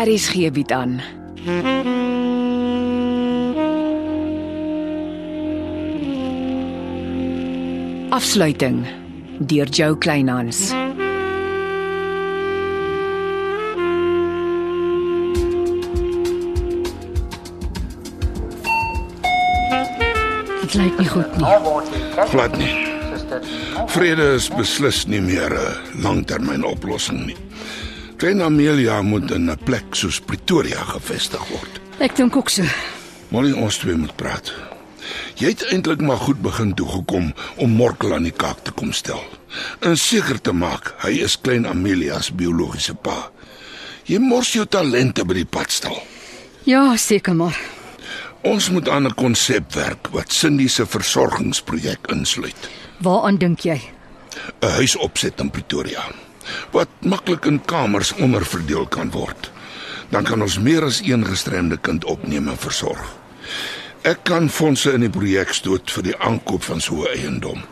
Aries gee bied Er aan. Afsluiting deur Jo Kleinhans. Dit lyk nie goed nie. Glad nie. Vrede is beslis nie meer 'n langtermynoplossing nie. Klein Amelia moet in 'n plek soos Pretoria gevestig word. Ek dink ook so. Molly ons twee moet praat. Jy het eintlik maar goed begin toe gekom om Morkel aan die kaak te kom stel. En seker te maak hy is Klein Amelia se biologiese pa. Jy mors jou talente by die padstal. Ja, seker maar. Ons moet aan 'n konsep werk wat Cindy se versorgingsprojek insluit. Waaraan dink jy? 'n huis opset in Pretoria wat maklik in kamers onderverdeel kan word. Dan kan ons meer as een gestremde kind opneem en versorg. Ek kan fondse in die projek stoot vir die aankoop van so 'n eiendom.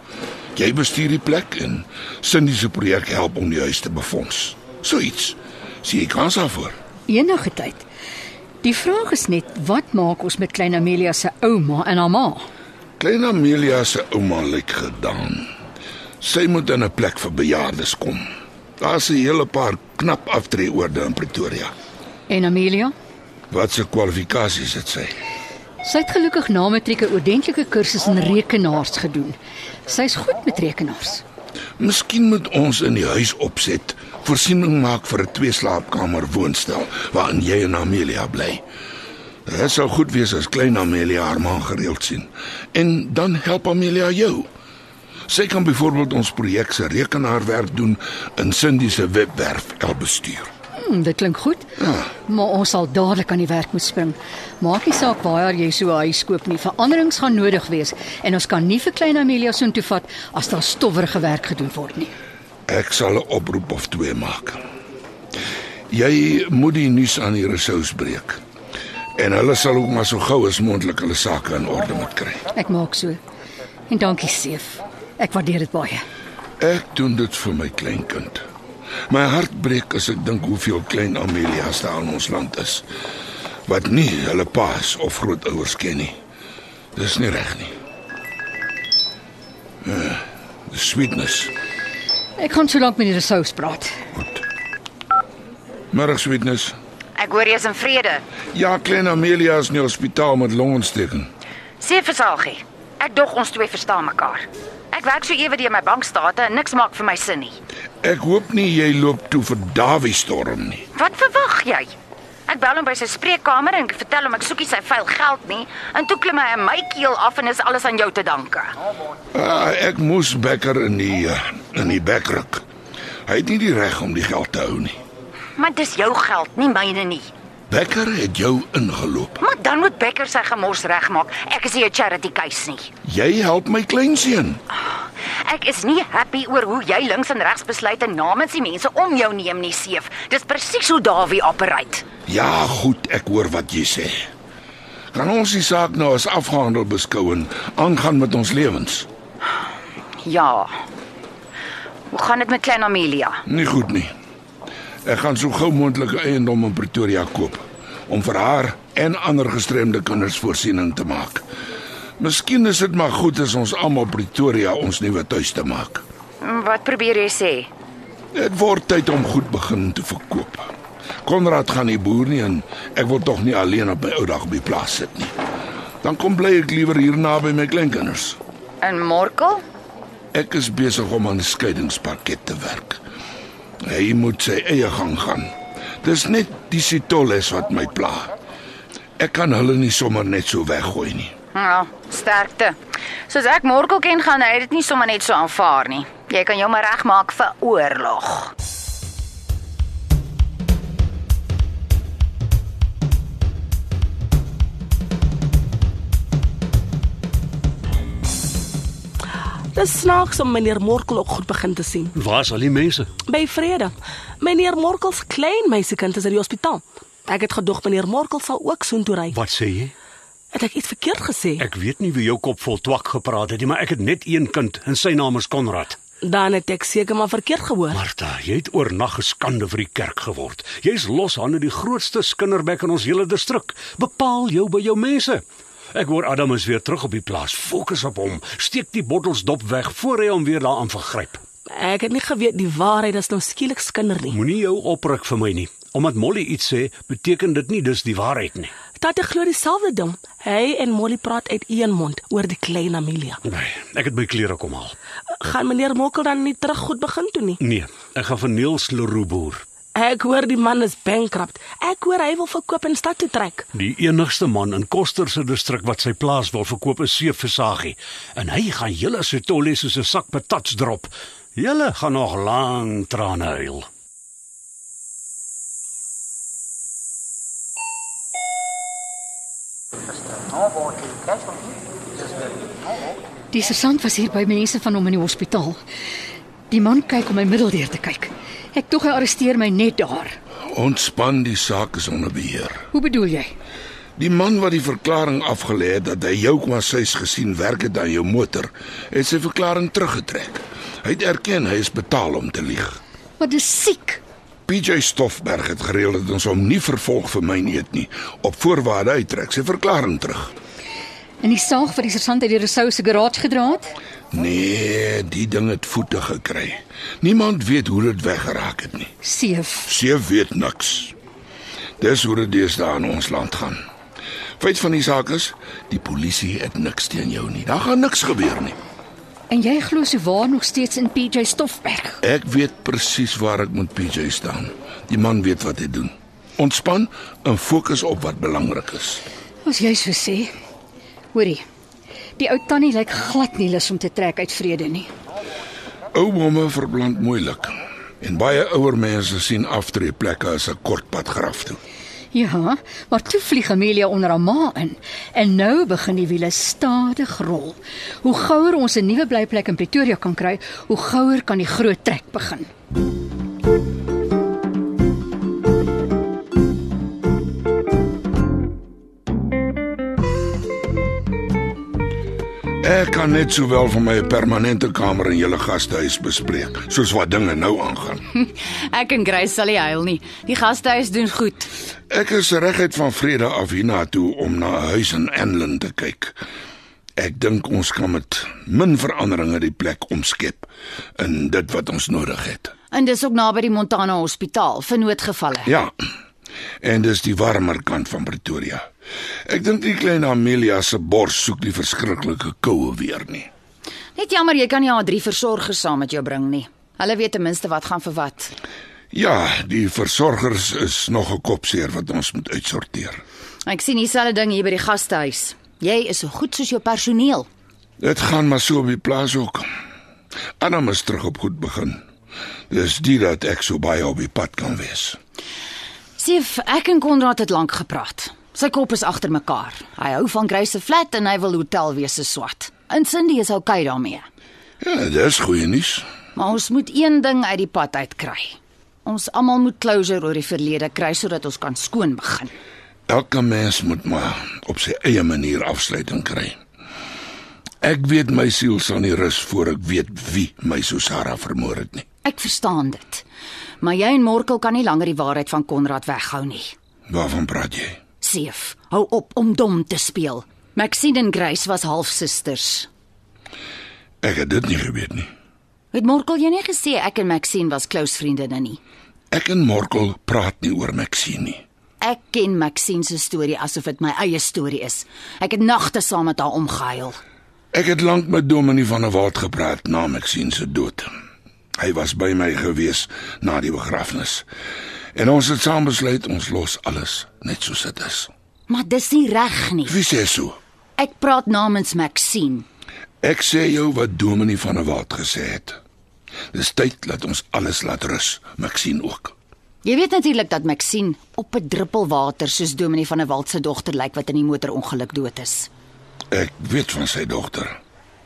Jy bestuur die plek en Cindy se projek help om die huis te befonds. So iets. Sien jy kans daarvoor? Enige tyd. Die vraag is net wat maak ons met klein Amelia se ouma en haar ma? Klein Amelia se ouma lyk gedaan. Sy moet in 'n plek vir bejaardes kom. Daar's 'n hele paar knap aftreeorde in Pretoria. En Amelia? Wat se kwalifikasies het sy? Sy het gelukkig na matriek 'n ordentlike kursus in rekenaars gedoen. Sy's goed met rekenaars. Miskien moet ons in die huis opset voorsiening maak vir 'n twee-slaapkamer woonstel waarin jy en Amelia bly. Dit sou goed wees as klein Amelia haar man gereeld sien en dan help Amelia jou. Sy kan byvoorbeeld ons projek se rekenaarwerk doen en Cindy se webwerf help bestuur. Hm, dit klink goed. Ja. Maar ons sal dadelik aan die werk moet spring. Maak nie saak waar jy so 'n huis koop nie, veranderings gaan nodig wees en ons kan nie vir klein Amelia soontoe vat as daar stowwerige werk gedoen word nie. Ek sal 'n oproep of twee maak. Jy moet die nuus aan die resous breek. En hulle sal ook maar so gou as moontlik hulle sake in orde moet kry. Ek maak so. En dankie Seef. Ek waardeer dit baie. Ek doen dit vir my kleinkind. My hart breek as ek dink hoeveel klein Amelia's daar in ons land is wat nie hulle paas of grootouers ken nie. Dis nie reg nie. Uh, sweetness. Ek gaan so lank met die resous praat. Goed. Middag sweetness. Ek hoor jy's in vrede. Ja, klein Amelia is in die hospitaal met longontsteking. Sê vir Sagie, ek dog ons twee verstaan mekaar. Ek werk so ewe deur my bankstate en niks maak vir my sin nie. Ek hoop nie jy loop toe vir Dawie storm nie. Wat verwag jy? Ek bel hom by sy spreekkamer en ek vertel hom ek soekie sy vuil geld nie en toe klim hy in my keel af en is alles aan jou te danke. Ah, ek moes Becker in die eh, in die bek ruk. Hy het nie die reg om die geld te hou nie. Maar dis jou geld, nie myne nie. Becker het jou ingeloop. Maar dan moet Becker sy gemors regmaak. Ek is nie 'n charity case nie. Jy help my kleinseun. Ek is nie happy oor hoe jy links en regs besluite namens die mense om jou neem nie, Seef. Dis presies hoe Dawie operate. Ja, goed, ek hoor wat jy sê. Kan ons die saak nou as afgehandel beskou en aangaan met ons lewens? Ja. Hoe gaan dit met klein Amelia? Nie goed nie. Ek gaan so gou moontlik 'n eiendom in Pretoria koop om vir haar en ander gestremde kinders voorsiening te maak. Miskien is dit maar goed as ons almal Pretoria ons nuwe tuis te maak. Wat probeer jy sê? Dit word tyd om goed begin te verkoop. Konrad gaan nie boer nie en ek wil tog nie alleen op my ou dag op die plaas sit nie. Dan kom bly ek liewer hier naby my kleinkinders. In Morkel? Ek is besig om aan 'n skeidingspakket te werk. Hy moet sy eie gang gaan. Dis net die sitolles wat my pla. Ek kan hulle nie sommer net so weggooi nie. Ja, sterkte. Soos ek Morkel ken, gaan hy dit nie sommer net so aanvaar nie. Jy kan jou maar regmaak vir oorlog. Dis snaaks om meneer Morkel ook goed begin te sien. Waar is al die mense? By vrede. Meneer Morkel se klein meisiekind is in die hospitaal. Ek het gedog meneer Morkel sal ook soontoe ry. Wat sê jy? Het ek iets verkeerd gesê? Ek weet nie wie jou kop vol twak gepraat het nie, maar ek het net een kind en sy naam is Konrad. Dan het ek seker maar verkeerd gehoor. Martha, jy het oornag geskande vir die kerk geword. Jy's loshande die grootste skinderbek in ons hele distrik. Bepaal jou by jou mense. Ek hoor Adam is weer terug op die plaas. Fokus op hom. Steek die bottels dop weg voor hy hom weer daaraan vergryp. Ek het nie geweet die waarheid is nou skielik skinder nie. Moenie jou opruk vir my nie. Omdat Molly iets sê, beteken dit nie dis die waarheid nie. Tatte glo dieselfde ding. Hy en Molly praat uit een mond oor die klein Amelia. Nee, ek het my klere kom haal. Gaan meneer Mokkel dan nie terug goed begin toe nie? Nee, ek gaan vir Niels Leroux boer. Ek hoor die man is bankrupt. Ek hoor hy wil verkoop en stad toe trek. Die enigste man in Koster se distrik wat sy plaas wil verkoop is Seef Versagie en hy gaan julle se tolle soos 'n sak patats drop. Julle gaan nog lank trane huil. Die sergeant was hier by mense van hom in die hospitaal. Die man kyk om my middeldeur te kyk. Ek tog hy arresteer my net daar. Ontspan, die saak is onder beheer. Hoe bedoel jy? Die man wat die verklaring afgelê het dat hy jou kwassies gesien werk het aan jou motor, het sy verklaring teruggetrek. Hy het erken hy is betaal om te lieg. Wat is siek? PJ Stoffberg het gereël dat ons hom nie vervolg vir myn eet nie, op voorwaarde hy trek sy verklaring terug. En die saag wat die sergeant uit die Rousseau se garage gedra het? Nee, die ding het voete gekry. Niemand weet hoe dit weggeraak het nie. Seef. Seef weet niks. Dis hoe dit deesdae in ons land gaan. Feit van die saak is, die polisie het niks teen jou nie. Daar gaan niks gebeur nie. En jy glo se waar nog steeds in PJ Stoffberg. Ek weet presies waar ek met PJ staan. Die man weet wat hy doen. Ontspan en fokus op wat belangrik is. As jy so sê. Hoorie. Die ou tannie lyk glad nie lus om te trek uit vrede nie. Ou momme verbland moeilik. En baie ouer mense sien aftreeplekke as 'n kort pad graf toe. Ja, maar toe vlieg Amelia onder haar ma in en nou begin die wiele stadig rol. Hoe gouer ons 'n nuwe blyplek in Pretoria kan kry, hoe gouer kan die groot trek begin. Ek kan net sowel van my 'n permanente kamer in julle gastehuis bespreek, soos wat dinge nou aangaan. Ek en Grace sal nie huil nie. Die gastehuis doen goed. Ek is reguit van Vrede af hiernatoe om na 'n huis in Enlin te kyk. Ek dink ons kan met min veranderinge die plek omskep in dit wat ons nodig het. En dis ook naby die Montana Hospitaal vir noodgevalle. Ja. En dis die warmer kant van Pretoria. Ek dink die klein Amelia se bors soek die verskriklike koue weer nie. Net jammer jy kan nie haar drie versorgers saam met jou bring nie. Hulle weet ten minste wat gaan vir wat. Ja, die versorgers is nog 'n kopseer wat ons moet uitsorteer. Ek sien dieselfde ding hier by die gastehuis. Jy is so goed soos jou personeel. Dit gaan maar so op die plaas ook. Adam is terug op goed begin. Dis dit dat ek so baie op die pad kan wees. Sief, ek en Konrad het lank gepraat. Sy kop is agter mekaar. Hy hou van Grace se flat en hy wil hotel wees se swat. En Cindy is oukei okay daarmee. Ja, dis goeie nuus. Maar ons moet een ding uit die pad uitkry. Ons almal moet closure oor die verlede kry sodat ons kan skoon begin. Elke mens moet maar op sy eie manier afsluiting kry. Ek weet my siel sal nie rus voor ek weet wie my Susara vermoor het nie. Ek verstaan dit. Maar jy en Morkel kan nie langer die waarheid van Konrad weghou nie. Waarvan praat jy? Seef, hou op om dom te speel. Maxine en Grace was halfsusters. Ek het dit nie geweet nie. Het Morkel jy nie gesê ek en Maxine was close vriendinne nie? Ek en Morkel praat nie oor Maxine nie. Ek ken Maxine se storie asof dit my eie storie is. Ek het nagte saam met haar omgehuil. Ek het lank met Dominie van der Walt gepraat na Maxine se dood. Hy was by my gewees na die begrafnis. En ons het saam besluit ons los alles net soos dit is. Maar dis nie reg nie. Wie sê so? Ek praat namens Maxine. Ek sê jou wat Dominie van der Walt gesê het. Dis tyd dat ons alles laat rus, Maxine ook. Jy weet natuurlik dat Maxine op 'n druppel water soos Dominee van der Walt se dogter lyk wat in die motorongeluk dood is. Ek weet van sy dogter.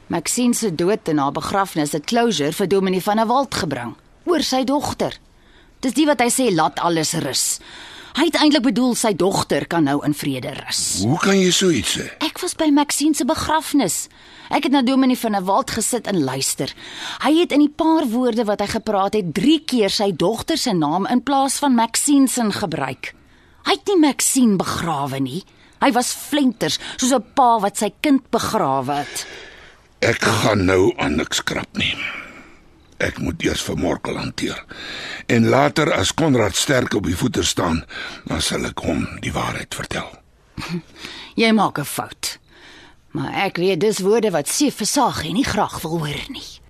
Maxine se dood en haar begrafnis het closure vir Dominee van der Walt gebring oor sy dogter. Dis die wat hy sê laat alles rus. Hy het eintlik bedoel sy dogter kan nou in vrede rus. Hoe kan jy so iets sê? Ek was by Maxine se begrafnis. Ek het na Dominee van der Walt gesit en luister. Hy het in die paar woorde wat hy gepraat het, 3 keer sy dogter se naam in plaas van Maxine se gebruik. Hy het nie Maxine begrawe nie. Hy was flenters, soos 'n pa wat sy kind begrawe het. Ek gaan nou aan niks krap nie. Ek moet eers vir Morkel hanteer. En later as Konrad sterk op die voete staan, dan sal ek hom die waarheid vertel. Jy maak 'n fout. Maar ek weet dis woorde wat Sief versag en nie graag wil hoor nie.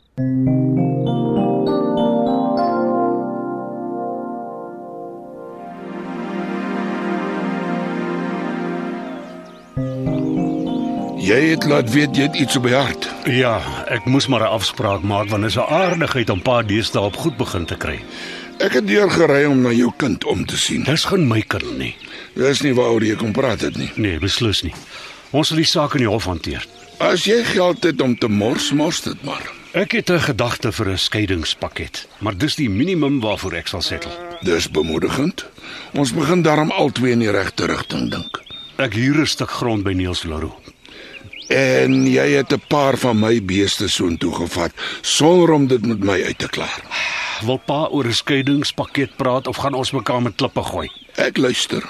Jy het laat weet jy het iets op die hart. Ja, ek moes maar 'n afspraak maak want is 'n aardigheid om pa deesdae op goed begin te kry. Ek het deurgery om na jou kind om te sien. Dis geen my kind nie. Dis nie waaroor jy kom praat het nie. Nee, beslis nie. Ons sal die saak in die hof hanteer. As jy geld het om te mors, mors dit maar. Ek het 'n gedagte vir 'n skeidingspakket, maar dis die minimum waarvoor ek sal settle. Dis bemoedigend. Ons begin daarom albei in die regte rigting dink. Ek huur 'n stuk grond by Niels Leroux. En jy het 'n paar van my beeste soontoe gevat sonder om dit met my uit te klaar. Wil pa oor 'n skeidingspakket praat of gaan ons mekaar met klippe gooi? Ek luister.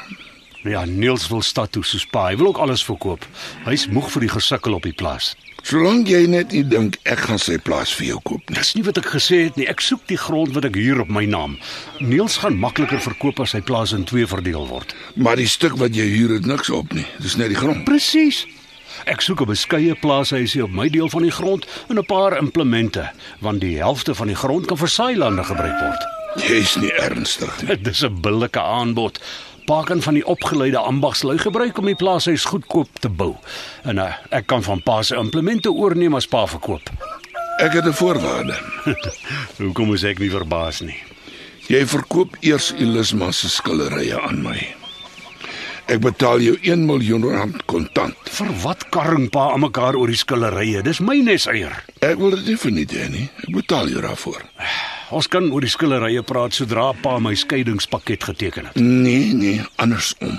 Ja, Niels wil stad toe soos pa. Hy wil ook alles verkoop. Hy's moeg vir die gesukkel op die plaas. Solank jy net nie dink ek gaan sy plaas vir jou koop nie. Dis nie wat ek gesê het nie. Ek soek die grond wat ek huur op my naam. Niels gaan makliker verkoop as sy plaas in twee verdeel word. Maar die stuk wat jy huur het niks op nie. Dis net die grond. Presies. Ek soek 'n beskeie plaashuisie op my deel van die grond en 'n paar implemente, want die helfte van die grond kan vir saailande gebruik word. Jy's nie ernstig nie. Dis 'n billike aanbod. Pa kan van die opgeleide ambagslui gebruik om die plaashuis goedkoop te bou. En uh, ek kan van pa se implemente oorneem as pa verkoop. Ek het 'n voorwaarde. Hoekom is ek nie verbaas nie? Jy verkoop eers Elisma se skillerye aan my. Ek betaal jou 1 miljoen rand kontant. Vir wat karring pa aan mekaar oor die skillerye? Dis my neseier. Ek wil dit nie verniet hê nie. Ek betaal jou daarvoor. Ons kan oor die skillerye praat sodra pa my skeidingspakket geteken het. Nee, nee, andersom.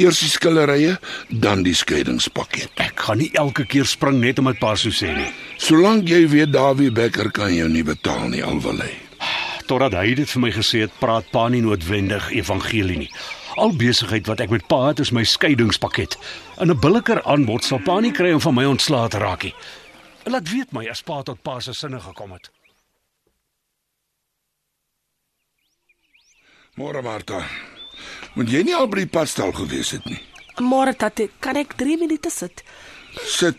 Eers die skillerye, dan die skeidingspakket. Ek gaan nie elke keer spring net omdat pa so sê nie. Solank jy weet Dawie Becker kan jou nie betaal nie, alwil hy. Totdat hy dit vir my gesê het, praat pa nie noodwendig evangelie nie. Al besigheid wat ek met pa het is my skeidingspakket. In 'n billiker aanbod sal pa nie kry om van my ontslae te raak nie. Laat weet my as pa tot pa se sinne gekom het. Môre Martha. Moet jy nie al by die padstal gewees het nie. Môre tatie, kan ek 3 minute sit? Sit,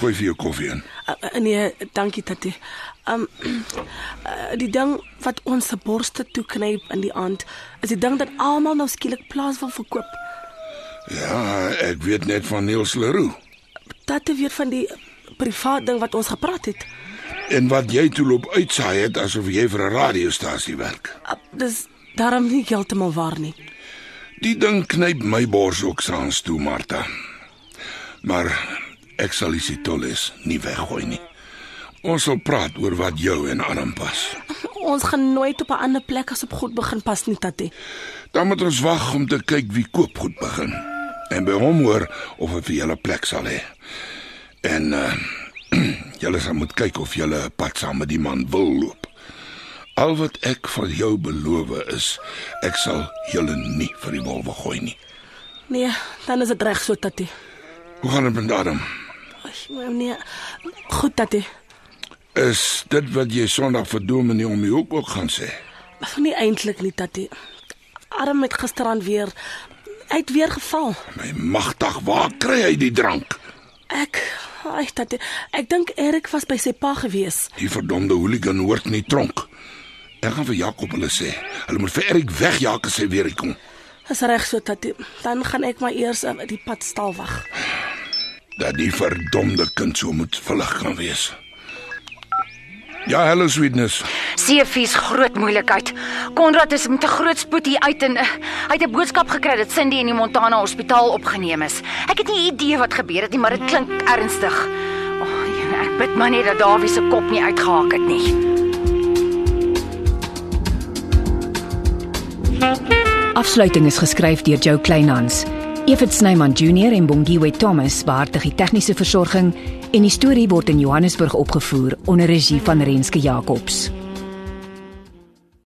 gooi vir jou koffie in. Uh, uh, nee, dankie tatie. Um uh, die ding wat ons se borste toe knyp in die aand, is die ding dat almal nou skielik plaas wil verkoop. Ja, ek weet net van Niels Leroux Tatie weer van die privaat ding wat ons gepraat het. en wat jy toe loop uitsaai het asof jy vir 'n radiostasie werk. Uh, dis daarom nie heeltemal waar nie. Die ding knyp my bors ook saans toe, Martha. Maar ek sal die sitoles nie weggooi nie. Ons sal praat oor wat jou en Adam pas. Ons gaan nooit op 'n ander plek as op goed begin pas nie, tatie. Dan moet ons wag om te kyk wie koop goed begin en by hom hoor of hy vir julle plek sal hê. En uh, julle sal moet kyk of julle 'n pad saam met die man wil loop. Al wat ek van jou beloof is, ek sal julle nie vir die wolwe gooi nie. Nee, dan is dit reg so, tatie. Hoe gaan dit met Adam? Ag, nee. Goed, tatie. Is dit wat jy Sondag vir Dominee om die hoek ook gaan sê? Nee, eintlik nie, tatie. Arm het gisteraan weer uit weer geval. My magtig, waar kry hy die drank? Ek, ai tatie, ek dink Erik was by sy pa gewees. Die verdomde hooligan hoort in die tronk. Ek gaan vir Jakob hulle sê. Hulle moet vir Erik wegjaag as hy weer hier kom. Is reg so, tatie. Dan gaan ek maar eers in die pad stal wag. Dat die verdomde kind so moet vullig kan wees. Ja, hallo sweetness. Seefies groot moeilikheid. Konrad is met 'n groot spoed hier uit en eh, hy het 'n boodskap gekry dat Cindy in die Montana Hospitaal opgeneem is. Ek het nie idee wat gebeur het nie, maar dit klink ernstig. O, oh, jene, ek bid maar net dat Dawie se kop nie uitgehaak het nie. Afsluiting is geskryf deur Jo Kleinhans. Evit Snyman Junior en Bongwe Thomas beheer die tegniese versorging en die storie word in Johannesburg opgevoer onder regie van Renske Jacobs.